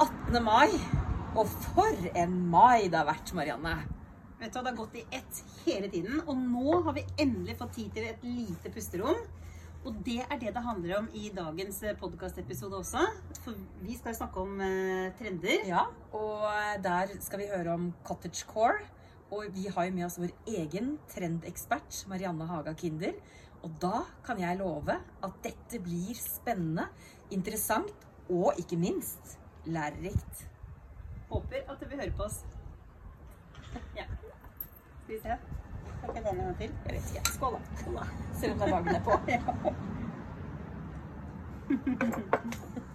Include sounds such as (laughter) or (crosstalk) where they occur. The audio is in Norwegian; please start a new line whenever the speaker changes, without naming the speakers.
18. mai. Og for en mai det har vært, Marianne. Vet du hva, Det har gått i ett hele tiden. Og nå har vi endelig fått tid til et lite pusterom. Og det er det det handler om i dagens podkastepisode også. For vi skal snakke om eh, trender.
Ja, og der skal vi høre om cottagecore. Og vi har jo med oss vår egen trendekspert Marianne Haga Kinder. Og da kan jeg love at dette blir spennende, interessant og ikke minst lærerikt.
Håper at du vil høre på oss. Ja. Skal vi se. Skal ikke den en gang til? (laughs)
Jeg vet ikke,
Skål, da. Skål, da.
selv om det er dagene på.